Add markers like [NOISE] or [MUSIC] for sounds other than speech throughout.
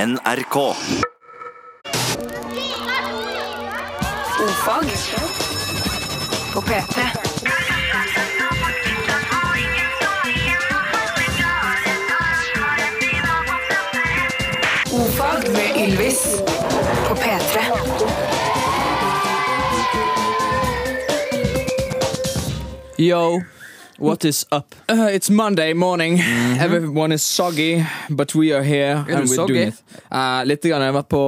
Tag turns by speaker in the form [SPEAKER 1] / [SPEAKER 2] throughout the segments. [SPEAKER 1] NRK.
[SPEAKER 2] Ofag på P3. Ofag med Ylvis på P3.
[SPEAKER 3] Yo, what is up?
[SPEAKER 4] Uh, it's Monday morning. Everyone is soggy, but we are here.
[SPEAKER 3] Er du
[SPEAKER 4] and we're
[SPEAKER 3] soggy?
[SPEAKER 4] doing it. Uh, litt. Grann. Jeg har vært på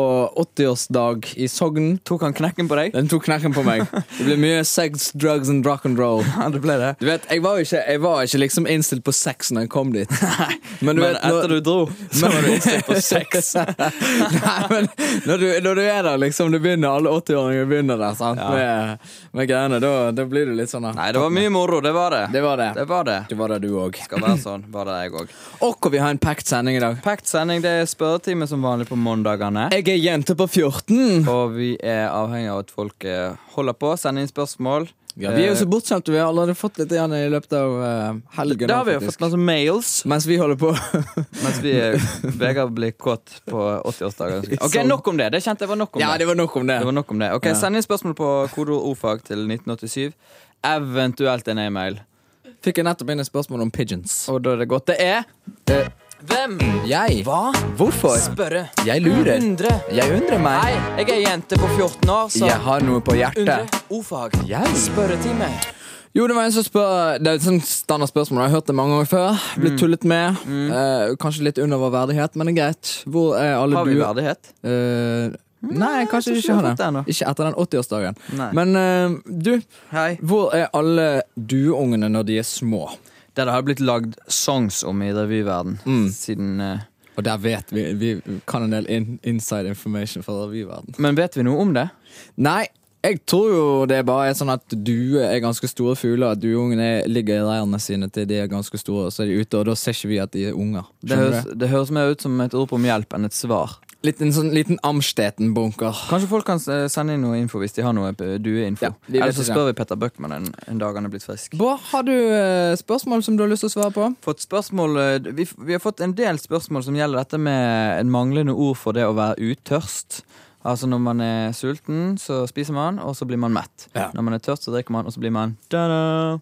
[SPEAKER 4] 80-årsdag i Sogn.
[SPEAKER 3] Tok han knekken på deg?
[SPEAKER 4] Den tok knekken på
[SPEAKER 3] [LAUGHS]
[SPEAKER 4] meg. Det ble mye sex, drugs and rock and roll.
[SPEAKER 3] Ja, det ble det.
[SPEAKER 4] Du vet, Jeg var ikke, jeg var ikke liksom innstilt på sex når jeg kom
[SPEAKER 3] [LAUGHS]
[SPEAKER 4] dit. Men, du
[SPEAKER 3] Men
[SPEAKER 4] vet, når-
[SPEAKER 3] etter du dro, så var du innstilt på sex.
[SPEAKER 4] [LAUGHS] Nei, men når du, når du er der, liksom, du begynner, alle 80-åringer begynner der, sant? Med, med greiene, da, da blir du litt sånn
[SPEAKER 3] Nei, det var mye moro. Det var det.
[SPEAKER 4] Det var det.
[SPEAKER 3] Det var det.
[SPEAKER 4] Det var det, du òg.
[SPEAKER 3] Skal
[SPEAKER 4] [CLEARS THROAT]
[SPEAKER 3] være sånn. Var det jeg òg.
[SPEAKER 4] Og vi har en packed sending i dag.
[SPEAKER 3] Packed sending. Det er spørretime som vanlig på mandagene.
[SPEAKER 4] Jeg er jente på 14.
[SPEAKER 3] Og vi er avhengig av at folk eh, holder på, sender inn spørsmål.
[SPEAKER 4] Ja, vi er jo så
[SPEAKER 3] Eh,
[SPEAKER 4] bortskjemte. Vi har allerede fått litt igjen i løpet av eh, helgen.
[SPEAKER 3] Det har
[SPEAKER 4] nå,
[SPEAKER 3] vi jo
[SPEAKER 4] faktisk.
[SPEAKER 3] fått masse mails
[SPEAKER 4] Mens vi holder på.
[SPEAKER 3] mens vi
[SPEAKER 4] [LAUGHS]
[SPEAKER 3] eh, Vegard blir kåt på 80-årsdagen. Ok,
[SPEAKER 4] Sånn.
[SPEAKER 3] Nok om det. Det kjente jeg var nok om.
[SPEAKER 4] [LAUGHS] ja, det var nok om det.
[SPEAKER 3] Det var nok om det. Ok,
[SPEAKER 4] Ja.
[SPEAKER 3] Send inn spørsmål på kodeord ordfag til 1987. Eventuelt en e-mail.
[SPEAKER 4] Fikk jeg nettopp inn et spørsmål om pigeons.
[SPEAKER 3] Og da er det godt. Det er
[SPEAKER 4] Eh,
[SPEAKER 3] Hvem?
[SPEAKER 4] jeg
[SPEAKER 3] Hva?
[SPEAKER 4] Hvorfor?
[SPEAKER 3] Spørre.
[SPEAKER 4] Jeg lurer. Jeg undrer
[SPEAKER 3] Hei,
[SPEAKER 4] meg.
[SPEAKER 3] jeg er jente på 14 år, så
[SPEAKER 4] Jeg har noe på hjertet.
[SPEAKER 3] ordfag.
[SPEAKER 4] Jeg?
[SPEAKER 3] Spørretime.
[SPEAKER 4] Jo, det var en som spør Det er et sånt standard spørsmål. Jeg har hørt det mange ganger før. Blitt tullet med. Eh, kanskje litt under vår verdighet, men det er greit. Hvor er alle
[SPEAKER 3] Har vi
[SPEAKER 4] buer-
[SPEAKER 3] verdighet?
[SPEAKER 4] Eh, nei, kanskje vi
[SPEAKER 3] jeg tror ikke vi
[SPEAKER 4] ikke har
[SPEAKER 3] har fått
[SPEAKER 4] det.
[SPEAKER 3] det ennå.
[SPEAKER 4] Ikke etter den 80-årsdagen.
[SPEAKER 3] Nei.
[SPEAKER 4] Men eh, du,
[SPEAKER 3] Hei.
[SPEAKER 4] hvor er alle dueungene når de er små?
[SPEAKER 3] Det har blitt lagd songs om i revyverden siden eh,
[SPEAKER 4] Og der vet vi Vi kan en del in, inside information fra revyverden.
[SPEAKER 3] Men vet vi noe om det?
[SPEAKER 4] Nei, jeg tror jo det bare er sånn at duer er ganske store fugler. At dueungene ligger i leirene sine til de er ganske store, og så er de ute, og da ser ikke vi at de er unger.
[SPEAKER 3] Det
[SPEAKER 4] Skjønner
[SPEAKER 3] høres,
[SPEAKER 4] du?
[SPEAKER 3] det høres mer ut som et rop om hjelp enn et svar.
[SPEAKER 4] Litt, en sånn liten Amsteten-bunker.
[SPEAKER 3] Kanskje folk kan eh, sende inn noe info hvis de har noe eh, dueinfo.
[SPEAKER 4] Ja, vi vet
[SPEAKER 3] Eller så
[SPEAKER 4] ikke.
[SPEAKER 3] spør vi Petter Bøckmann en, en dag han er blitt frisk.
[SPEAKER 4] Bård, har du eh, spørsmål som du har lyst til å svare på?
[SPEAKER 3] fått spørsmål eh, vi, vi har fått en del spørsmål som gjelder dette med en manglende ord for det å være uttørst. Altså Når man er sulten, så spiser man, og så blir man mett.
[SPEAKER 4] Ja.
[SPEAKER 3] Når man er tørst, så drikker man, og så blir man ta-da!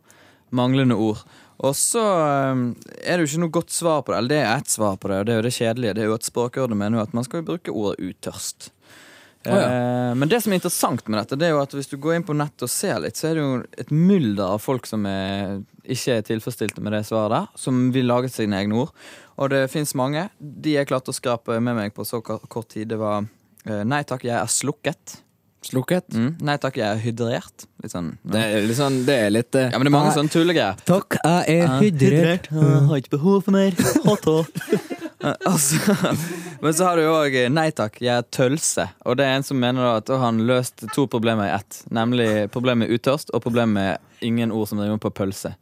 [SPEAKER 3] Manglende ord. Og så eh, er det jo ikke noe godt svar på det. Eller det er ett svar på det, og det er jo det kjedelige. Det er jo at Språkrådet mener jo at man skal jo bruke ordet uttørst.
[SPEAKER 4] Å, ja.
[SPEAKER 3] Eh, Men det som er interessant med dette, Det er jo at hvis du går inn på nettet og ser litt, så er det jo et mylder av folk som er, ikke er tilfredsstilte med det svaret der, som vil lage sine egne ord. Og det fins mange. De jeg klarte å skrape med meg på så ka- kort tid, det var eh, Nei takk, jeg er slukket.
[SPEAKER 4] Slukket?
[SPEAKER 3] Mm. Nei takk, jeg er hydrert. Litt sånn.
[SPEAKER 4] Det er litt sånn, det er litt eh,
[SPEAKER 3] Ja, men det er mange sånne tullegreier.
[SPEAKER 4] Takk, jeg er hydrert.
[SPEAKER 3] Har ikke behov for mer. altså, men så har du jo òg Nei takk, jeg er tølse. Og det er en som mener da at å, han løste to problemer i ett. Nemlig problemet med uttørst og problemet med ingen ord som rimer på [LAUGHS] pølse.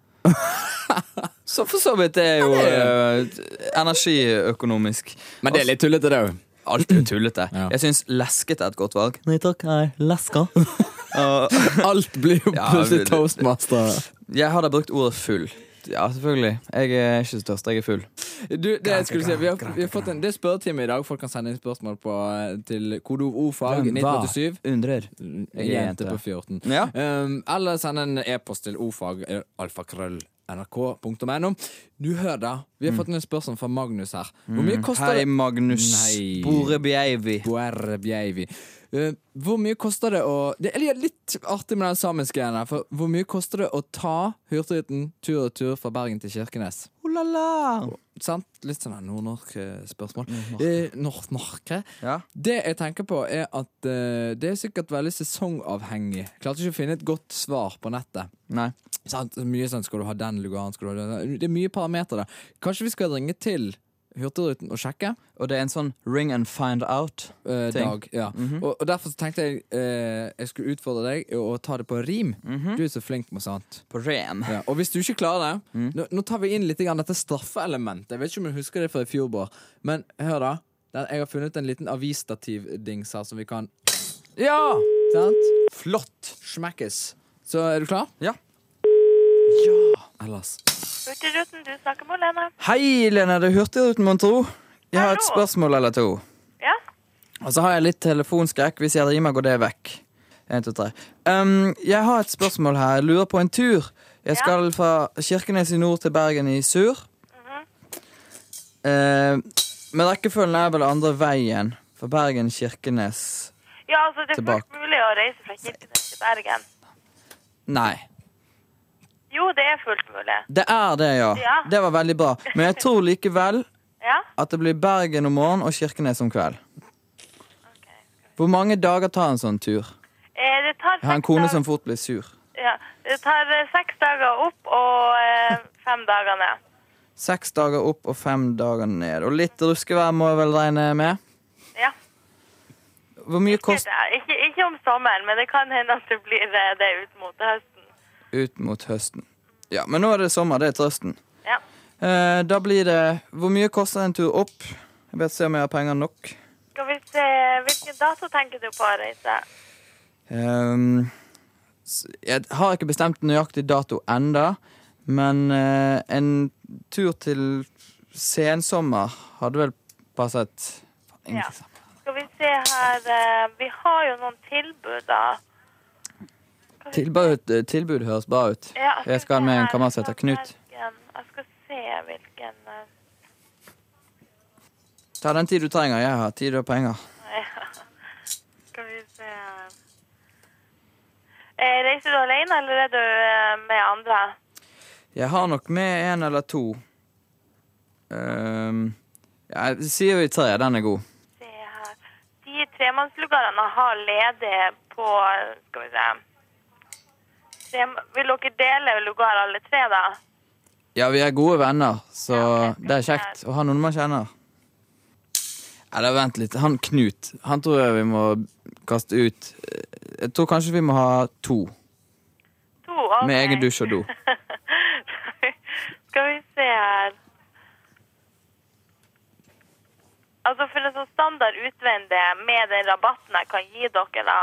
[SPEAKER 3] Så for så vidt det er jo eh, energiøkonomisk.
[SPEAKER 4] Men det er litt tullete, det òg.
[SPEAKER 3] Alt er jo tullete.
[SPEAKER 4] Ja.
[SPEAKER 3] Jeg syns lesket er et godt valg.
[SPEAKER 5] Nei takk, jeg er leska.
[SPEAKER 3] Og
[SPEAKER 4] Alt blir [LAUGHS] jo
[SPEAKER 3] Ja,
[SPEAKER 4] plutselig
[SPEAKER 3] det-
[SPEAKER 4] toastmaster.
[SPEAKER 3] jeg hadde brukt ordet full. Ja, selvfølgelig. Jeg er ikke så tørst, jeg er full.
[SPEAKER 4] Du, det jeg skulle si Vi har, vi har fått en, det er spørretime i dag. Folk kan sende inn spørsmål på, eh, til kodeordfag
[SPEAKER 3] Hvem var?
[SPEAKER 4] 1987.
[SPEAKER 3] Undrer. Jeg er
[SPEAKER 4] Jente
[SPEAKER 3] jente.
[SPEAKER 4] på 14.
[SPEAKER 3] Ja.
[SPEAKER 4] Um, eller send en e-post til ordfag eh, alfakrøll nrk.no. Du hør da, vi har fått en spørsmål fra Magnus her. Hvor mye koster
[SPEAKER 3] Mm. Hei,
[SPEAKER 4] det
[SPEAKER 3] Magnus
[SPEAKER 4] Nei.
[SPEAKER 3] Borebjeivi.
[SPEAKER 4] Boer Bjeivi. Eh, hvor mye koster det å Det er litt- litt artig med den samiske her, for hvor mye koster det å ta Hurtigruten tur og tur fra Bergen til Kirkenes? Sant? Litt sånn her nordnorsk eh, spørsmål. Eh, Nordnorske.
[SPEAKER 3] Ja.
[SPEAKER 4] Det jeg tenker på, er at eh, det er sikkert veldig sesongavhengig. Klarte ikke å finne et godt svar på nettet.
[SPEAKER 3] Nei.
[SPEAKER 4] Sant? Mye sånn, Skal du ha den lugaren? Skal du ha den? Det er mye parametere der. Kanskje vi skal ringe til Hurtigruten og sjekke?
[SPEAKER 3] Og det er en sånn ring and find out.
[SPEAKER 4] eh,
[SPEAKER 3] Ting.
[SPEAKER 4] dag, ja. og, og derfor så tenkte jeg eh, jeg skulle utfordre deg og ta det på rim. Du er så flink med sånt.
[SPEAKER 3] På ren.
[SPEAKER 4] Ja. Og hvis du ikke klarer det
[SPEAKER 3] Mm.
[SPEAKER 4] nå, nå tar vi inn litt grann dette straffeelementet. Jeg vet ikke om du husker det fra i fjor, Bård, men hør da. Den, jeg har funnet en liten avisstativdings her som vi kan
[SPEAKER 3] Ja!
[SPEAKER 4] Sant?
[SPEAKER 3] Flott.
[SPEAKER 4] Smekkes. Så er du klar?
[SPEAKER 3] Ja.
[SPEAKER 4] Ellers.
[SPEAKER 6] Hurtigruten, du snakker med Lene.
[SPEAKER 3] Hei, Lene. Det er Hurtigruten, mon tro. Jeg har et
[SPEAKER 6] Hallo.
[SPEAKER 3] spørsmål eller to. Og så har jeg litt telefonskrekk. Hvis jeg rimer, går det vekk. En, to, tre. Um, jeg har et spørsmål her. Jeg lurer på en tur. Jeg skal fra Kirkenes i nord til Bergen i sur. Eh, men rekkefølgen er vel andre veien. For Bergen, Kirkenes
[SPEAKER 1] Ja, altså, det er fullt
[SPEAKER 3] Tilbake.
[SPEAKER 1] mulig å reise fra Kirkenes til Bergen.
[SPEAKER 3] Nei.
[SPEAKER 1] Jo, det er fullt mulig.
[SPEAKER 3] Det er det, ja.
[SPEAKER 1] Ja.
[SPEAKER 3] Det var veldig bra. Men jeg tror likevel
[SPEAKER 1] Ja.
[SPEAKER 3] at det blir Bergen om morgenen og Kirkenes om kveld. Hvor mange dager tar en sånn tur?
[SPEAKER 1] Eh, det tar
[SPEAKER 3] Jeg har en
[SPEAKER 1] seks
[SPEAKER 3] kone
[SPEAKER 1] dager-
[SPEAKER 3] som fort blir sur.
[SPEAKER 1] Ja, det tar eh, seks dager opp og eh, fem dager ned.
[SPEAKER 3] Seks dager opp og fem dager ned. Og litt ruskevær må jeg vel regne med?
[SPEAKER 1] Ja.
[SPEAKER 3] Hvor mye kost
[SPEAKER 1] Det er Ikke, ikke om sommeren, men det kan hende at det blir eh, det ut mot høsten.
[SPEAKER 3] ut mot høsten? Ja, men nå er det sommer, det er trøsten.
[SPEAKER 1] Ja.
[SPEAKER 3] Eh, da blir det Hvor mye koster en tur opp? Jeg vet se om jeg har penger nok.
[SPEAKER 1] Skal vi se, Hvilken dato tenker du på å reise?
[SPEAKER 3] Ehm, s- jeg har ikke bestemt nøyaktig dato enda, men eh, en tur til sensommer hadde vel passet Faen,
[SPEAKER 1] Ja.
[SPEAKER 3] ingenting.
[SPEAKER 1] Skal vi se her eh, Vi har jo noen tilbud, da.
[SPEAKER 3] Tilbud, eh, tilbud høres bra ut.
[SPEAKER 1] Ja,
[SPEAKER 3] Jeg skal
[SPEAKER 1] se
[SPEAKER 3] med en
[SPEAKER 1] her,
[SPEAKER 3] kamerat som heter
[SPEAKER 1] fra
[SPEAKER 3] Knut.
[SPEAKER 1] Bergen. Jeg skal se hvilken eh,
[SPEAKER 3] Ta den tid du trenger. Jeg har tid og penger.
[SPEAKER 1] Skal vi se her. eh, Reiser du alene, eller er du eh, med andre?
[SPEAKER 3] Jeg har nok med en eller to. Ehm, ja, jeg sier vi tre. Den er god.
[SPEAKER 1] Se her. De tremannslugarene har ledig på Skal vi se Trem Vil dere dele lugar alle tre, da?
[SPEAKER 3] Ja, vi er gode venner, så det er kjekt å ha noen man kjenner. Eller vent litt. Han Knut, han tror jeg vi må kaste ut. Eh, Jeg tror kanskje vi må ha to.
[SPEAKER 1] To, ok.
[SPEAKER 3] Med egen dusj og
[SPEAKER 1] [LAUGHS]
[SPEAKER 3] do.
[SPEAKER 1] Skal vi se her Altså for en sånn standard utvendig med den rabatten jeg kan gi dere da,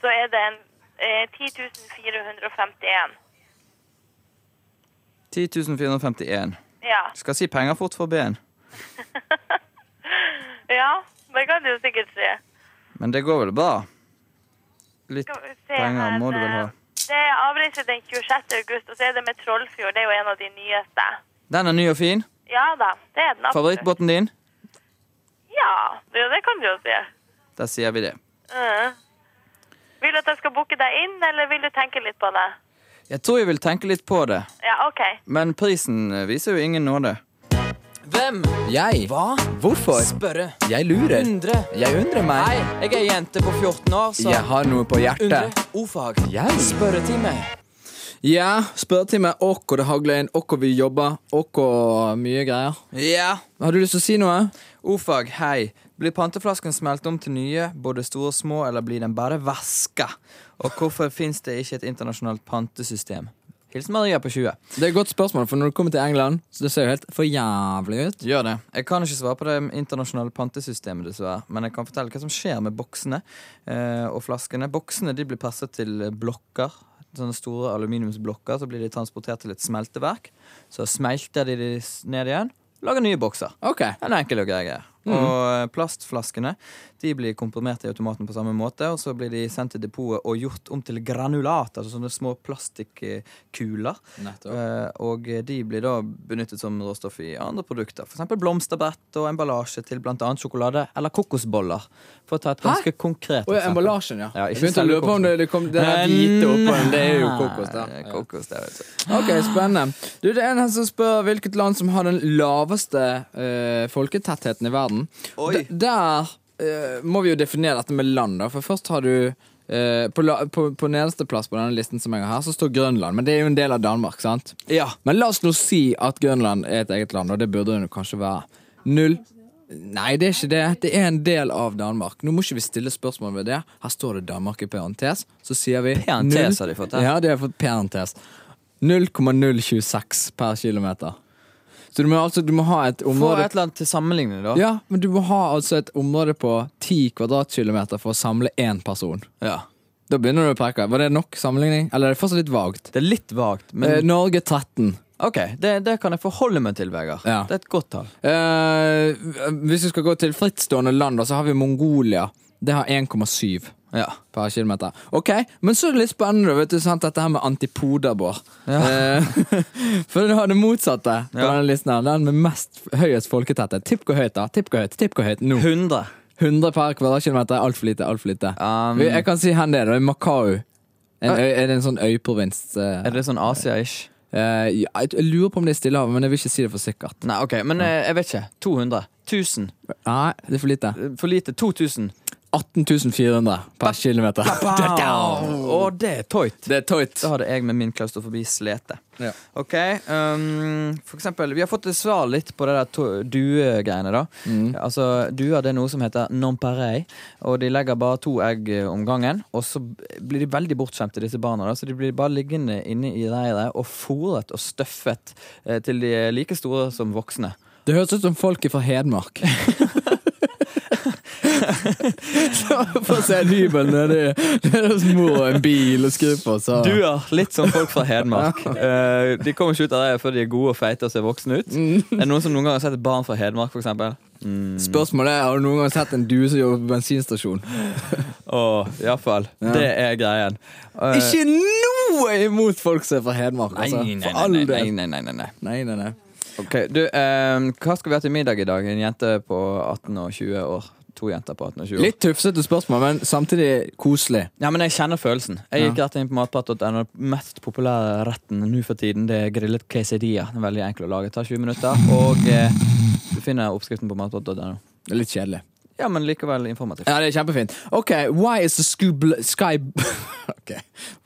[SPEAKER 1] så er det en eh, 10.451.
[SPEAKER 3] 10.451.
[SPEAKER 1] Ja.
[SPEAKER 3] Skal si penger fort for ben,
[SPEAKER 1] ja, det kan du jo sikkert si.
[SPEAKER 3] men det går vel bra? Litt
[SPEAKER 1] Skal vi se
[SPEAKER 3] penger må du vel ha.
[SPEAKER 1] eh, Det er avreise den 26. august, og så er det med Trollfjord. Det er jo en av de nyeste.
[SPEAKER 3] Den er ny og fin.
[SPEAKER 1] Ja da, det er den absolutt.
[SPEAKER 3] Favorittbåten din?
[SPEAKER 1] Ja, det, det kan du jo si.
[SPEAKER 3] Da sier vi det.
[SPEAKER 1] Mm. Vil du at jeg skal booke deg inn, eller vil du tenke litt på det?
[SPEAKER 3] Jeg tror jeg vil tenke litt på det,
[SPEAKER 1] Ja, OK.
[SPEAKER 3] men prisen eh, viser jo ingen nåde. Hvem?
[SPEAKER 4] Jeg.
[SPEAKER 3] Hva?
[SPEAKER 4] Hvorfor?
[SPEAKER 3] Spørre.
[SPEAKER 4] Jeg lurer.
[SPEAKER 3] Undre.
[SPEAKER 4] Jeg undrer meg.
[SPEAKER 3] Hei, jeg er jente på 14 år, så
[SPEAKER 4] Jeg har noe på hjertet.
[SPEAKER 3] Ordfag.
[SPEAKER 4] Jeg.
[SPEAKER 3] Spørretime.
[SPEAKER 4] Ja, spørretime. Og hvor det hagler inn, og hvor vi jobber, og hvor mye greier.
[SPEAKER 3] Ja.
[SPEAKER 4] Har du lyst til å si noe?
[SPEAKER 3] Ordfag, hei. Blir panteflasken smelt om til nye, både store og små, eller blir den bare vaska? Og hvorfor fins det ikke et internasjonalt pantesystem? Hilsen Maria på 20.
[SPEAKER 4] Det er et godt spørsmål, for når du kommer til England, så det ser jo helt for jævlig ut.
[SPEAKER 3] Gjør det. Jeg kan ikke svare på det internasjonale pantesystemet, dessverre. Men jeg kan fortelle hva som skjer med boksene eh, og flaskene. Boksene de blir presset til blokker. Sånne store aluminiumsblokker. Så blir de transportert til et smelteverk. Så smelter de de s- ned igjen. Lager nye bokser.
[SPEAKER 4] Ok.
[SPEAKER 3] En enkel og grei greie. Og eh, plastflaskene de blir komprimert i automaten på samme måte, og så blir de sendt til depotet og gjort om til granulat, altså sånne små plastikkuler. Eh, Og de blir da benyttet som råstoff i andre produkter. F.eks. blomsterbrett og emballasje til bl.a. sjokolade eller kokosboller. For å ta et ganske konkret
[SPEAKER 4] Å ja,
[SPEAKER 3] eksempel.
[SPEAKER 4] emballasjen, ja.
[SPEAKER 3] Ja, ikke
[SPEAKER 4] jeg begynte å
[SPEAKER 3] selve
[SPEAKER 4] lure på om det,
[SPEAKER 3] kokosen.
[SPEAKER 4] det kom det der hvite oppå den. Det er jo
[SPEAKER 3] Nei,
[SPEAKER 4] kokos, da.
[SPEAKER 3] det er Eh, kokos, det, vet du.
[SPEAKER 4] Ok, spennende. Du, det er en her som spør hvilket land som har den laveste eh, folketettheten i verden.
[SPEAKER 3] Oi.
[SPEAKER 4] D- Der eh, må vi jo definere dette med land, da. For først har du eh, på, la på, på nederste plass på denne listen som jeg har her, så står Grønland. Men det er jo en del av Danmark, sant?
[SPEAKER 3] Ja.
[SPEAKER 4] Men la oss nå si at Grønland er et eget land, og det burde det jo kanskje være. Null Nei, det er ikke det. Det er en del av Danmark. Nå må ikke vi stille spørsmål ved det. Her står det Danmark i parentes, så sier vi
[SPEAKER 3] Parentes
[SPEAKER 4] null-
[SPEAKER 3] har de fått her.
[SPEAKER 4] Ja, de har fått parentes. 0,026 per kilometer. Så du må altså du må ha et
[SPEAKER 3] Få
[SPEAKER 4] område
[SPEAKER 3] et eller annet til sammenligning, da.
[SPEAKER 4] Ja, men du må ha altså et område på 10 kvadratkilometer for å samle én person.
[SPEAKER 3] Ja.
[SPEAKER 4] Da begynner du å preke. Var det nok sammenligning? Eller er det fortsatt litt vagt?
[SPEAKER 3] Det er litt vagt, men
[SPEAKER 4] Eh, Norge 13.
[SPEAKER 3] Ok, det, det kan jeg forholde meg til, Vegard.
[SPEAKER 4] Ja.
[SPEAKER 3] Det er et godt tall.
[SPEAKER 4] Eh, hvis vi skal gå til frittstående land, da, så har vi Mongolia. Det har 1,7
[SPEAKER 3] Ja.
[SPEAKER 4] per kilometer. Ok, men så er det litt spennende, vet du, sant, dette her med antipoder, Bård.
[SPEAKER 3] Ja.
[SPEAKER 4] Eh, [LAUGHS] for du har det motsatte på
[SPEAKER 3] Ja.
[SPEAKER 4] denne listen her. Den med mest høyest folketetthet. Tipp hvor høyt, da. Tipp hvor høyt, tipp hvor høyt nå.
[SPEAKER 3] 100.
[SPEAKER 4] 100 per kvadratkilometer. Altfor lite, altfor lite.
[SPEAKER 3] Um,
[SPEAKER 4] Jeg kan si hen det er. Det er Makau. En øy, er det en sånn øyprovins? eh,
[SPEAKER 3] Er det sånn Asia-ish?
[SPEAKER 4] eh, ja, jeg lurer på om det er Stillehavet, men jeg vil ikke si det for sikkert.
[SPEAKER 3] Nei, ok, men eh, jeg vet ikke. 200. 1000.
[SPEAKER 4] Nei, det er for lite.
[SPEAKER 3] Eh, For lite. 2000.
[SPEAKER 4] 18 400 per kilometer. [LAUGHS]
[SPEAKER 3] Å, det er tøyt.
[SPEAKER 4] Det er tøyt.
[SPEAKER 3] Da hadde jeg med min klaustrofobi slete.
[SPEAKER 4] Ja.
[SPEAKER 3] Ok, um, for eksempel, vi har fått et svar litt på det der to- duegreiene da. Altså, duer det er noe som heter nonparei, og de legger bare to egg eh, om gangen, og så blir de veldig bortskjemte, disse barna da, så de blir bare liggende inne i reiret og fôret og støffet eh, til de er like store som voksne.
[SPEAKER 4] Det høres ut som folk er fra Hedmark. Få se en hybel nede i deres mor og en bil og sånn. skru på, så
[SPEAKER 3] Duer, litt som folk fra Hedmark. Eh, de kommer ikke ut av reiret før de er gode og feite og ser voksne ut. Er det noen som noen gang har sett et barn fra Hedmark, for eksempel?
[SPEAKER 4] Spørsmålet er, har du noen gang sett en due som jobber på bensinstasjon?
[SPEAKER 3] Åh, i hvert fall. Det er greien. Eh,
[SPEAKER 4] Ikke noe imot folk som er fra Hedmark, altså.
[SPEAKER 3] Nei, nei,
[SPEAKER 4] For all
[SPEAKER 3] nei, nei,
[SPEAKER 4] del.
[SPEAKER 3] nei, nei, nei, nei.
[SPEAKER 4] Nei, nei, nei.
[SPEAKER 3] Ok, du, ehm, Hva skal vi ha til middag i dag? En jente på 18 og 20 år. To jenter på 18 og 20 år.
[SPEAKER 4] Litt tufsete spørsmål, men samtidig koselig.
[SPEAKER 3] Ja, men Jeg kjenner følelsen. Jeg gikk rett inn på matprat.no. Den mest populære retten nå for tiden det er grillet quesadilla. Den er veldig enkel å lage. Tar 20 minutter. Og eh, du finner oppskriften på matprat.no.
[SPEAKER 4] Litt kjedelig.
[SPEAKER 3] Ja, men likevel informativ.
[SPEAKER 4] Ja, det er kjempefint. Ok, why is the sku- bl- [LAUGHS] sky Ok,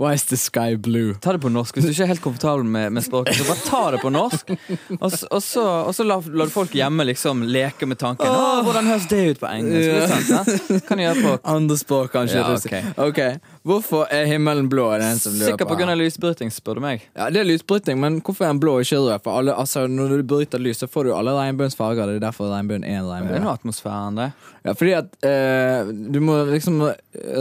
[SPEAKER 4] why is the sky blue?
[SPEAKER 3] Ta det på norsk. Hvis du ikke er helt komfortabel med, med språket, så bare ta det på norsk. Og, s- og så, og så la, la du folk hjemme liksom leke med tanken. Åh, hvordan høres det ut på engelsk?
[SPEAKER 4] Ja.
[SPEAKER 3] Det er sant, ja. Kan du gjøre på
[SPEAKER 4] Andre språk, kanskje.
[SPEAKER 3] Ja,
[SPEAKER 4] ok. Hvorfor er himmelen blå? Er det en som lurer
[SPEAKER 3] Sikkert
[SPEAKER 4] på
[SPEAKER 3] pga. lysbryting, spør du meg.
[SPEAKER 4] Ja, Det er lysbryting, men hvorfor er den blå og ikke rød? For alle, altså, Når du bryter lys, så får du alle regnbuens farger. Det er derfor regnbuen er en
[SPEAKER 3] Det er
[SPEAKER 4] regnbue.
[SPEAKER 3] noe atmosfæren, det.
[SPEAKER 4] Ja, fordi at eh, du må liksom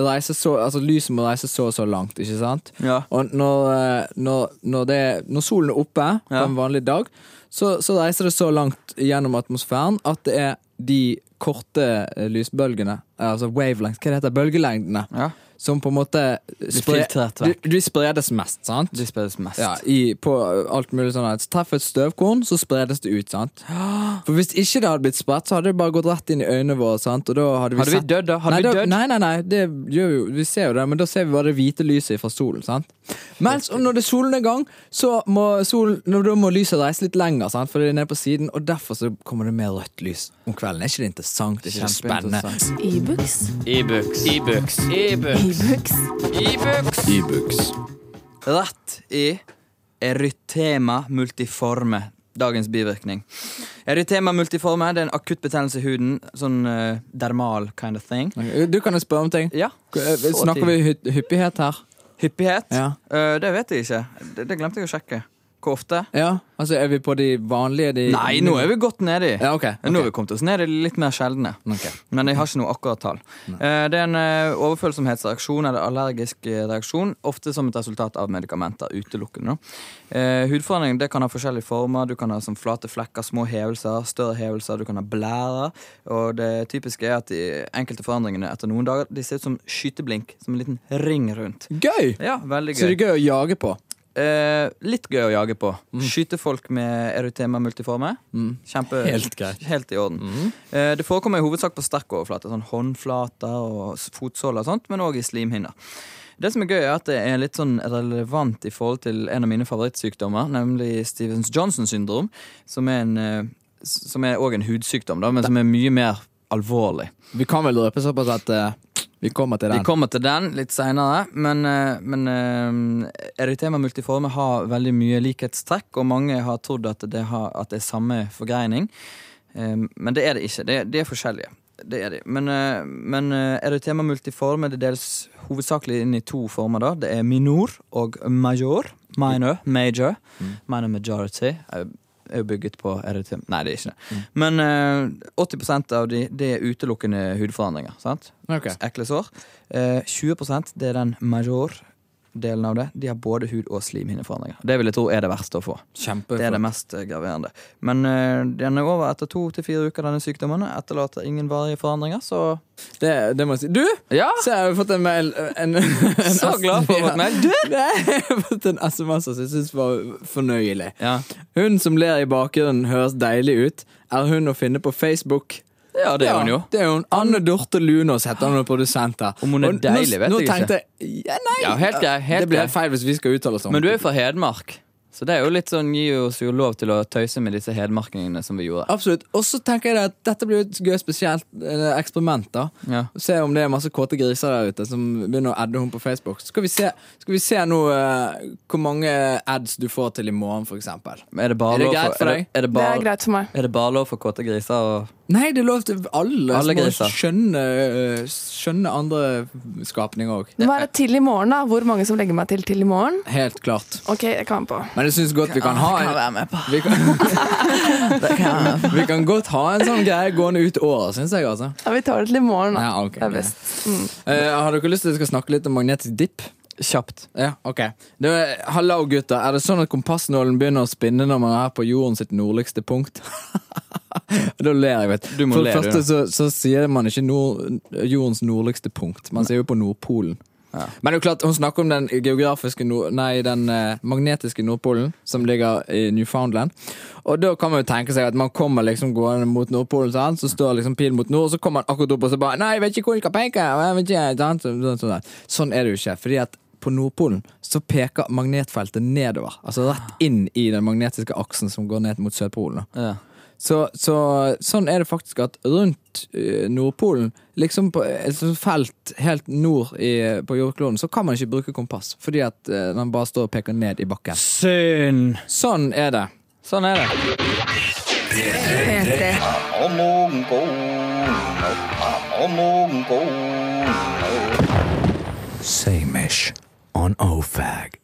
[SPEAKER 4] reise så Altså, lyset må reise så og så langt, ikke sant?
[SPEAKER 3] Ja.
[SPEAKER 4] Og når, eh, når, når, det, når solen er oppe på
[SPEAKER 3] Ja.
[SPEAKER 4] en vanlig dag, så, så reiser det så langt gjennom atmosfæren at det er de korte eh, lysbølgene, eh, altså wavelengths, hva det heter, bølgelengdene,
[SPEAKER 3] Ja.
[SPEAKER 4] som på en måte spre-
[SPEAKER 3] filtrert
[SPEAKER 4] de,
[SPEAKER 3] vekk.
[SPEAKER 4] de spredes mest, sant?
[SPEAKER 3] De spilles mest.
[SPEAKER 4] Ja, i, på alt mulig sånn at Treff et støvkorn, så spredes det ut,
[SPEAKER 3] [GASPS]
[SPEAKER 4] sant? For hvis ikke det hadde blitt spredt, så hadde det bare gått rett inn i øynene våre, sant? Og da hadde vi
[SPEAKER 3] Hadde vi
[SPEAKER 4] sett-
[SPEAKER 3] dødd, da? Hadde
[SPEAKER 4] nei,
[SPEAKER 3] vi dødd?
[SPEAKER 4] Nei, nei, nei, det gjør vi jo, vi ser jo det, men da ser vi bare det hvite lyset fra solen, sant? Mens og når det er solen i gang, så må solen, når, da må lyset reise litt lenger, sant? For det er nede på siden, og derfor så kommer det mer rødt lys om kvelden. Er ikke det interessant? Er ikke det spennende?
[SPEAKER 2] E-books.
[SPEAKER 3] E-books. E-books.
[SPEAKER 2] E-books.
[SPEAKER 3] E-books.
[SPEAKER 4] E-books.
[SPEAKER 3] Rett i erytema Ah, multiforme. Dagens bivirkning. Erytema multiforme det er en akutt betennelse i huden. Sånn eh, dermal kind of thing.
[SPEAKER 4] Du kan jo spørre om ting.
[SPEAKER 3] Ja, så
[SPEAKER 4] Snakker vi
[SPEAKER 3] tidlig.
[SPEAKER 4] hy- hyppighet her?
[SPEAKER 3] hyppighet?
[SPEAKER 4] Ja.
[SPEAKER 3] Eh, det vet jeg ikke. Det, det glemte jeg å sjekke. Hvor ofte?
[SPEAKER 4] Ja, altså er vi på de vanlige? De
[SPEAKER 3] Nei, nå er vi godt nedi.
[SPEAKER 4] Ja, ok, ok.
[SPEAKER 3] Nå har vi kommet oss ned i litt mer sjeldne.
[SPEAKER 4] Ok.
[SPEAKER 3] Men jeg har ikke noe akkurat tall. Eh, Det er en eh, overfølsomhetsreaksjon eller allergisk eh, reaksjon, ofte som et resultat av medikamenter utelukkende. da. Eh, Hudforandring det kan ha forskjellige former. Du kan ha som flate flekker, små hevelser, større hevelser, du kan ha blærer. Og det typiske er at de enkelte forandringene etter noen dager de ser ut som skyteblink, som en liten ring rundt.
[SPEAKER 4] Gøy!
[SPEAKER 3] Ja, veldig
[SPEAKER 4] Så det
[SPEAKER 3] gøy.
[SPEAKER 4] er gøy å jage på.
[SPEAKER 3] Eh, litt gøy å jage på.
[SPEAKER 4] Mm.
[SPEAKER 3] Skyte folk med erytema multiforme. Kjempe,
[SPEAKER 4] Helt greit. Mm.
[SPEAKER 3] helt i orden. Eh, det forekommer i hovedsak på sterk overflate, sånn håndflater og s- fotsåler, og sånt, men òg i slimhinner. Det som er gøy, er at det er litt sånn relevant i forhold til en av mine favorittsykdommer, nemlig Stevens-Johnson syndrom, som er en eh, s- som er òg en hudsykdom, da, men som er mye mer alvorlig.
[SPEAKER 4] Vi kan vel røpe såpass at eh, vi kommer til
[SPEAKER 3] Vi
[SPEAKER 4] den.
[SPEAKER 3] kommer til den litt seinere, men, eh, men eh, erytema multiforme har veldig mye likhetstrekk, og mange har trodd at det, har, at det er samme forgreining. Eh, Men det er det ikke. Det, de er forskjellige. Det er de. Men, eh, men eh, erytema multiforme det deles hovedsakelig inn i to former. da. Det er minor og major. Minor, major.
[SPEAKER 4] Mm.
[SPEAKER 3] Minor majority. eh, er jo bygget på erytema Nei, det er
[SPEAKER 4] Mm.
[SPEAKER 3] ikke det. Men eh, 80 av de, det er utelukkende hudforandringer. sant?
[SPEAKER 4] Ok.
[SPEAKER 3] ekle sår. Eh, 20 det er den major delen av det, de har både hud- og slimhinneforandringer. Det vil jeg tro er det verste å få. Det er det
[SPEAKER 4] Kjempeflott.
[SPEAKER 3] mest eh, graverende. Men eh, den er over etter to til fire uker, denne sykdommen. Etterlater ingen varige forandringer, så
[SPEAKER 4] Det, det må jeg si. Du!
[SPEAKER 3] Ja!
[SPEAKER 4] Se, jeg har fått en mail eh, en, en
[SPEAKER 3] Så glad
[SPEAKER 4] [LAUGHS]
[SPEAKER 3] for å ha fått mail. Du!
[SPEAKER 4] Nei, jeg har fått en SMS som jeg syns var fornøyelig.
[SPEAKER 3] Ja,
[SPEAKER 4] Hun som ler i bakgrunnen høres deilig ut. Er hun å finne på Facebook?
[SPEAKER 3] ja det er hun jo.
[SPEAKER 4] Ja, det er hun. Anne Dorte Lunås heter hun, og produsent her.
[SPEAKER 3] Om hun er
[SPEAKER 4] Og nå-
[SPEAKER 3] deilig, vet
[SPEAKER 4] nå
[SPEAKER 3] jeg ikke.
[SPEAKER 4] tenkte jeg ja, nei,
[SPEAKER 3] Ja, helt grei, helt
[SPEAKER 4] Det blir
[SPEAKER 3] grei.
[SPEAKER 4] helt feil hvis vi skal uttale oss om
[SPEAKER 3] Men du er jo fra Hedmark, så det er jo litt sånn gir oss jo lov til å tøyse med disse hedmarkingene som vi gjorde.
[SPEAKER 4] Absolutt. Og så tenker jeg at dette blir jo et gøy spesielt eh, eksperiment. da
[SPEAKER 3] Ja.
[SPEAKER 4] Se om det er masse kåte griser der ute som begynner å adde henne på Facebook. Så skal vi se, skal vi se nå eh, hvor mange ads du får til i morgen, for eksempel.
[SPEAKER 3] Er det bare
[SPEAKER 4] Er det
[SPEAKER 3] lov
[SPEAKER 4] greit for
[SPEAKER 3] er det,
[SPEAKER 4] deg?
[SPEAKER 3] er det,
[SPEAKER 2] Det
[SPEAKER 3] bare,
[SPEAKER 2] er greit for meg.
[SPEAKER 3] er det bare lov for kåte griser å
[SPEAKER 4] Nei, det er lov til alle,
[SPEAKER 3] Alle
[SPEAKER 4] som må
[SPEAKER 3] griser.
[SPEAKER 4] skjønne, eh, skjønne andre skapninger òg.
[SPEAKER 2] Men hva er det til i morgen, da? Hvor mange som legger meg til til i morgen?
[SPEAKER 4] Helt klart.
[SPEAKER 2] Ok, jeg kan være på.
[SPEAKER 4] Men jeg syns godt vi kan ha en
[SPEAKER 3] være med på.
[SPEAKER 4] vi kan, vi kan godt ha en sånn greie gående ut året, syns jeg. altså
[SPEAKER 2] Ja, vi tar det til i morgen, da.
[SPEAKER 4] Ja, ok,
[SPEAKER 2] Det er
[SPEAKER 4] ok.
[SPEAKER 2] best.
[SPEAKER 4] Eh, Har dere lyst til at jeg skal snakke litt om magnetisk dipp?
[SPEAKER 3] Kjapt.
[SPEAKER 4] Ja, ok det er, Hallo gutter, er det sånn at kompassnålen begynner å spinne når man er på jorden sitt nordligste punkt? da ler jeg, vet
[SPEAKER 3] Du må
[SPEAKER 4] For det
[SPEAKER 3] le, du.
[SPEAKER 4] første så, så sier man ikke nord, jordens nordligste punkt, man sier jo på Nordpolen. Men det er jo klart, hun snakker om den geografiske nord, Nei, den eh, magnetiske Nordpolen som ligger i Newfoundland. Og da kan man jo tenke seg at man kommer liksom gående mot Nordpolen, sant? så står liksom pilen mot nord, og så kommer man akkurat opp og så bare Nei, jeg vet ikke hvor jeg skal peke! Jeg vet ikke, sant? Sånn, sånn, sånn. sånn er det jo ikke. fordi at på Nordpolen så peker magnetfeltet nedover. Altså rett inn i den magnetiske aksen som går ned mot Sørpolen. da.
[SPEAKER 3] Ja.
[SPEAKER 4] Så, så sånn er det faktisk at rundt eh, Nordpolen, liksom på et sånt felt helt nord i, på jordkloden, så kan man ikke bruke kompass, fordi at eh, den bare står og peker ned i bakken.
[SPEAKER 3] Synd!
[SPEAKER 4] Sånn er det.
[SPEAKER 3] Sånn er det.
[SPEAKER 4] Samish on OFAG.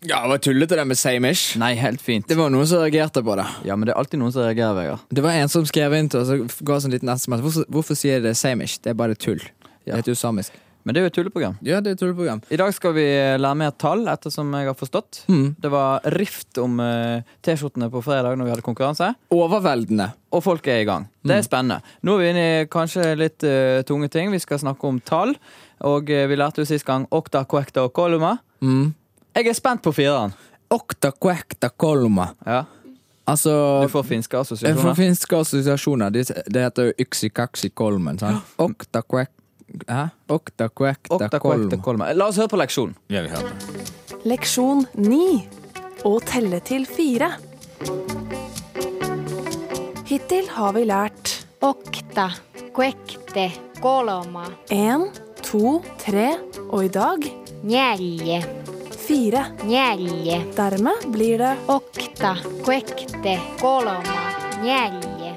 [SPEAKER 4] Ja, det var tullete det med samish.
[SPEAKER 3] Nei, helt fint.
[SPEAKER 4] Det var noen som reagerte på det.
[SPEAKER 3] Ja, men det er alltid noen som reagerer, Vegard.
[SPEAKER 4] Det var en som skrev inn til oss og ga oss en liten SMS. Hvorfor, hvorfor sier dere samish? Det er bare tull.
[SPEAKER 3] Ja.
[SPEAKER 4] Det heter jo samisk.
[SPEAKER 3] Men det er jo et tulleprogram.
[SPEAKER 4] Ja, det er et tulleprogram.
[SPEAKER 3] I dag skal vi lære mer tall, ettersom jeg har forstått.
[SPEAKER 4] Mm.
[SPEAKER 3] Det var rift om eh, T-skjortene på fredag når vi hadde konkurranse.
[SPEAKER 4] Overveldende.
[SPEAKER 3] Og folk er i gang. Det
[SPEAKER 4] Mm.
[SPEAKER 3] er spennende. Nå er vi inne i kanskje litt eh, tunge ting. Vi skal snakke om tall. Og eh, vi lærte jo sist gang okta, quekta og koluma. Jeg er spent på fireren.
[SPEAKER 4] Mm. Okta quekta kolma.
[SPEAKER 3] Ja.
[SPEAKER 4] Altså
[SPEAKER 3] Du får finske
[SPEAKER 4] Jeg får
[SPEAKER 3] assosiasjoner.
[SPEAKER 4] finske assosiasjoner. Det, det heter jo yksikaksikolmen. sant? Okta quek... Hæ? Okta quekta
[SPEAKER 3] Okta, quekta,
[SPEAKER 4] kolm.
[SPEAKER 3] koluma. La oss høre på leksjonen.
[SPEAKER 2] Leksjon ni. Å telle til fire. Hittil har vi lært
[SPEAKER 5] Okta, kvekte, koloma,
[SPEAKER 2] én, to, tre og i dag
[SPEAKER 5] neljä,
[SPEAKER 2] fire.
[SPEAKER 5] neljä.
[SPEAKER 2] Dermed blir det
[SPEAKER 5] Okta, kvekte, koloma, neljä,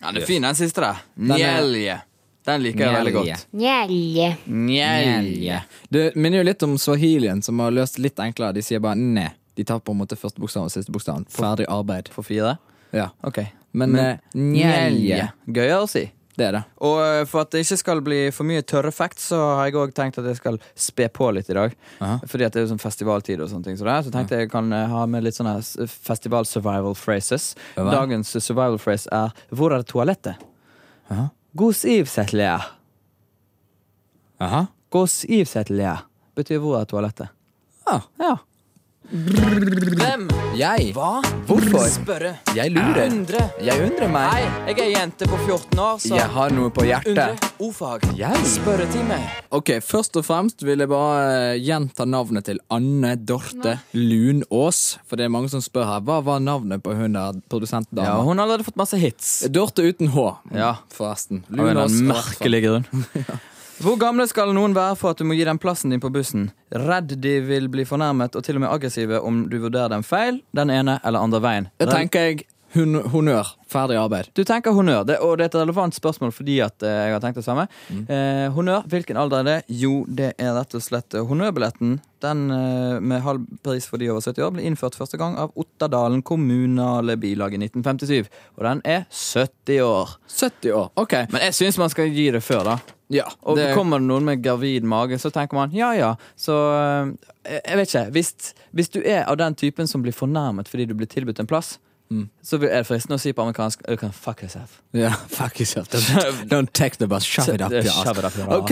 [SPEAKER 3] Ja, den er fin, den siste der.
[SPEAKER 4] er-
[SPEAKER 3] Njelje. Den liker jeg veldig
[SPEAKER 4] Njelje.
[SPEAKER 3] godt.
[SPEAKER 5] neljä,
[SPEAKER 3] Njelje.
[SPEAKER 4] Det minner jo litt om swahilien, som har løst litt enklere. De sier bare ne. De tar på en måte første bokstaven og siste bokstaven. Ferdig arbeid.
[SPEAKER 3] For fire?
[SPEAKER 4] Ja.
[SPEAKER 3] OK.
[SPEAKER 4] Men, Men njelje,
[SPEAKER 3] Gøyere å si.
[SPEAKER 4] det er det.
[SPEAKER 3] Og eh, for at det ikke skal bli for mye tørre facts, så har jeg òg tenkt at jeg skal spe på litt i dag.
[SPEAKER 4] Aha.
[SPEAKER 3] Fordi at det er jo sånn festivaltid og sånne ting. Så, det er, så tenkte jeg jeg kan eh, ha med litt sånne s- festival survival phrases.
[SPEAKER 4] Ja vel.
[SPEAKER 3] Dagens eh, survival phrase er 'Hvor er toalettet?'
[SPEAKER 4] Aha.
[SPEAKER 3] Gos ivsetlea.
[SPEAKER 4] Aha.
[SPEAKER 3] Gos ivsetlea betyr 'hvor er toalettet'?
[SPEAKER 4] Ah.
[SPEAKER 3] Ja. Hvem?
[SPEAKER 4] Jeg
[SPEAKER 3] Hva?
[SPEAKER 4] Hvorfor?
[SPEAKER 3] Spørre.
[SPEAKER 4] Jeg lurer.
[SPEAKER 3] Undre.
[SPEAKER 4] Jeg undrer meg.
[SPEAKER 3] Nei, jeg er jente på 14 år, så
[SPEAKER 4] Jeg har noe på
[SPEAKER 3] Undre.
[SPEAKER 4] hjertet.
[SPEAKER 3] Ordfag.
[SPEAKER 4] Jeg?
[SPEAKER 3] Spørretime.
[SPEAKER 4] Ok, Først og fremst vil jeg bare eh, gjenta navnet til Anne Dorte Lunås. For det er mange som spør her. Hva var navnet på hun der
[SPEAKER 3] Ja,
[SPEAKER 4] produsentdama?
[SPEAKER 3] hun har allerede fått masse hits.
[SPEAKER 4] Dorte uten H,
[SPEAKER 3] Ja.
[SPEAKER 4] forresten.
[SPEAKER 3] Av en eller annen
[SPEAKER 4] var-
[SPEAKER 3] merkelig grunn.
[SPEAKER 4] [LAUGHS]
[SPEAKER 3] Hvor gamle skal noen være for at du må gi dem plassen din på bussen? Redd de vil bli fornærmet og til og med aggressive om du vurderer dem feil den ene eller andre veien.
[SPEAKER 4] Da tenker jeg hun, honnør. Ferdig arbeid.
[SPEAKER 3] Du tenker honnør, det, og det er et relevant spørsmål fordi at eh, jeg har tenkt det samme.
[SPEAKER 4] Mm.
[SPEAKER 3] Eh, honnør, hvilken alder er det? Jo, det er rett og slett eh, honnørbilletten. Den eh, med halv pris for de over 70 år ble innført første gang av Ottadalen kommunale bilag i 1957. Og den er 70 år.
[SPEAKER 4] 70 år. Ok,
[SPEAKER 3] Men jeg syns man skal gi det før, da.
[SPEAKER 4] Ja,
[SPEAKER 3] Og
[SPEAKER 4] det,
[SPEAKER 3] kommer det noen med gravid mage, så tenker man ja ja. Så eh, jeg vet ikke. Hvis, hvis du er av den typen som blir fornærmet fordi du blir tilbudt en plass,
[SPEAKER 4] Mm.
[SPEAKER 3] så vil- er det fristende å si på amerikansk You can fuck yourself. [LAUGHS]
[SPEAKER 4] ja, fuck yourself. Don't, don't take the bus. Shove it up your ass.
[SPEAKER 3] Shove it up your ass.
[SPEAKER 4] Ok,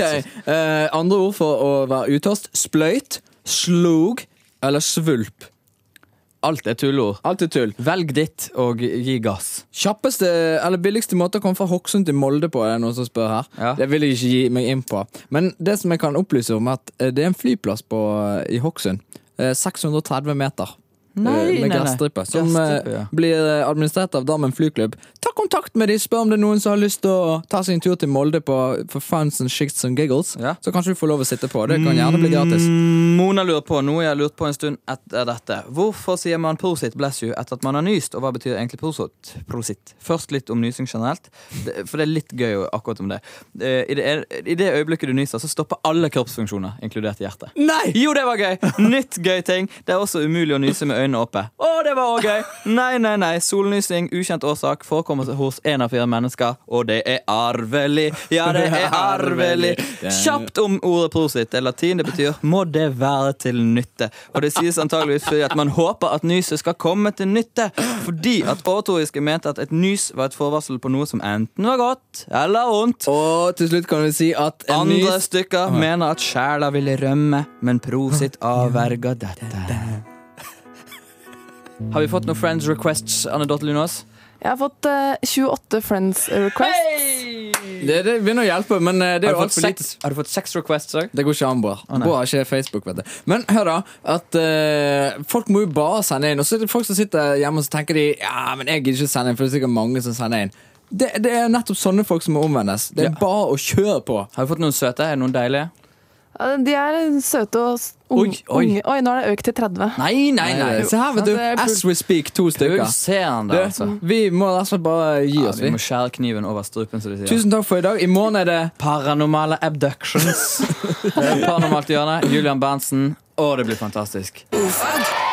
[SPEAKER 4] eh, andre ord for å være utast. Spløyt, slog eller svulp.
[SPEAKER 3] Alt er tulleord.
[SPEAKER 4] Alt er tull.
[SPEAKER 3] Velg ditt og gi gass.
[SPEAKER 4] Kjappeste eller billigste måte å komme fra Hokksund til Molde på, er det noen som spør her.
[SPEAKER 3] Ja.
[SPEAKER 4] Det vil jeg ikke gi meg inn på. Men det som jeg kan opplyse om, er at eh, det er en flyplass på, eh, i Hokksund. Eh, 630 meter. eh,
[SPEAKER 3] Nei, nei,
[SPEAKER 4] med
[SPEAKER 3] nei.
[SPEAKER 4] gressstripe. Som eh,
[SPEAKER 3] Gressstripe, ja.
[SPEAKER 4] blir eh, administrert av Drammen flyklubb. Ta kontakt med de, spør om det er noen som har lyst til å ta seg en tur til Molde på, for fans and shits and giggles.
[SPEAKER 3] Ja. Mm.
[SPEAKER 4] Så kanskje du får lov å sitte på. Det kan gjerne bli gratis.
[SPEAKER 3] Mona lurer på noe jeg har lurt på en stund etter dette. Hvorfor sier man prosit bless you etter at man har nyst, og hva betyr egentlig prosit? prosit? Først litt om nysing generelt, det- for det er litt gøy akkurat om det. Eh, I det, I det øyeblikket du nyser, så stopper alle kroppsfunksjoner, inkludert hjertet.
[SPEAKER 4] Nei!
[SPEAKER 3] Jo, det var gøy! Nytt gøy ting. Det er også umulig å nyse med øynene oppe. Å, det var òg gøy! Nei, nei, nei. Solnysing, ukjent årsak, forekommer hos én av fire mennesker, og det er arvelig. Ja, det er arvelig. Kjapt om ordet prosit. Det er latin, det betyr 'må det være til nytte'. Og det sies antageligvis fordi at man håper at nyset skal komme til nytte. Fordi at oratoriske mente at et nys var et forvarsel på noe som enten var godt eller vondt.
[SPEAKER 4] Og til slutt kan vi si at en
[SPEAKER 3] Andre
[SPEAKER 4] nys-
[SPEAKER 3] stykker mener at sjela ville rømme, men prosit avverga dette. Har vi fått noen Friends requests, Anne Dorthe Lunås?
[SPEAKER 2] Jeg har fått eh, 28 friends requests.
[SPEAKER 4] Det, det begynner å hjelpe, men eh, det er
[SPEAKER 3] Har,
[SPEAKER 4] jo
[SPEAKER 3] du fått
[SPEAKER 4] altfor lite.
[SPEAKER 3] seks- har du fått seks requests òg?
[SPEAKER 4] Det går ikke an, Bård. Bård har ikke Facebook, vet du. Men hør, da. At eh, folk må jo bare sende inn. Og så er det folk som sitter hjemme og så tenker de Ja, men jeg gidder ikke sende inn, for det er sikkert mange som sender inn. Det, det er nettopp sånne folk som må omvendes. Det er bare å kjøre på.
[SPEAKER 3] Har vi fått noen søte? Er det noen deilige?
[SPEAKER 2] Ja, De er søte og s-
[SPEAKER 3] Oi,
[SPEAKER 2] unge.
[SPEAKER 3] oi.
[SPEAKER 2] unge. oi, nå er det økt til 30.
[SPEAKER 3] Nei, nei, nei.
[SPEAKER 4] Se her, vet du.
[SPEAKER 2] Det er pul-
[SPEAKER 4] As we speak, to stykker.
[SPEAKER 3] Pulserende,
[SPEAKER 4] Du,
[SPEAKER 3] altså.
[SPEAKER 4] vi må rett og slett bare gi
[SPEAKER 3] Ja,
[SPEAKER 4] oss,
[SPEAKER 3] vi
[SPEAKER 4] vi.
[SPEAKER 3] må skjære kniven over strupen, som de sier.
[SPEAKER 4] Tusen takk for i dag. I morgen er det
[SPEAKER 3] Paranormale
[SPEAKER 4] [LAUGHS]
[SPEAKER 3] abductions. det er paranormalt hjørne. Julian Berntsen. Å, det blir fantastisk.
[SPEAKER 4] Ofag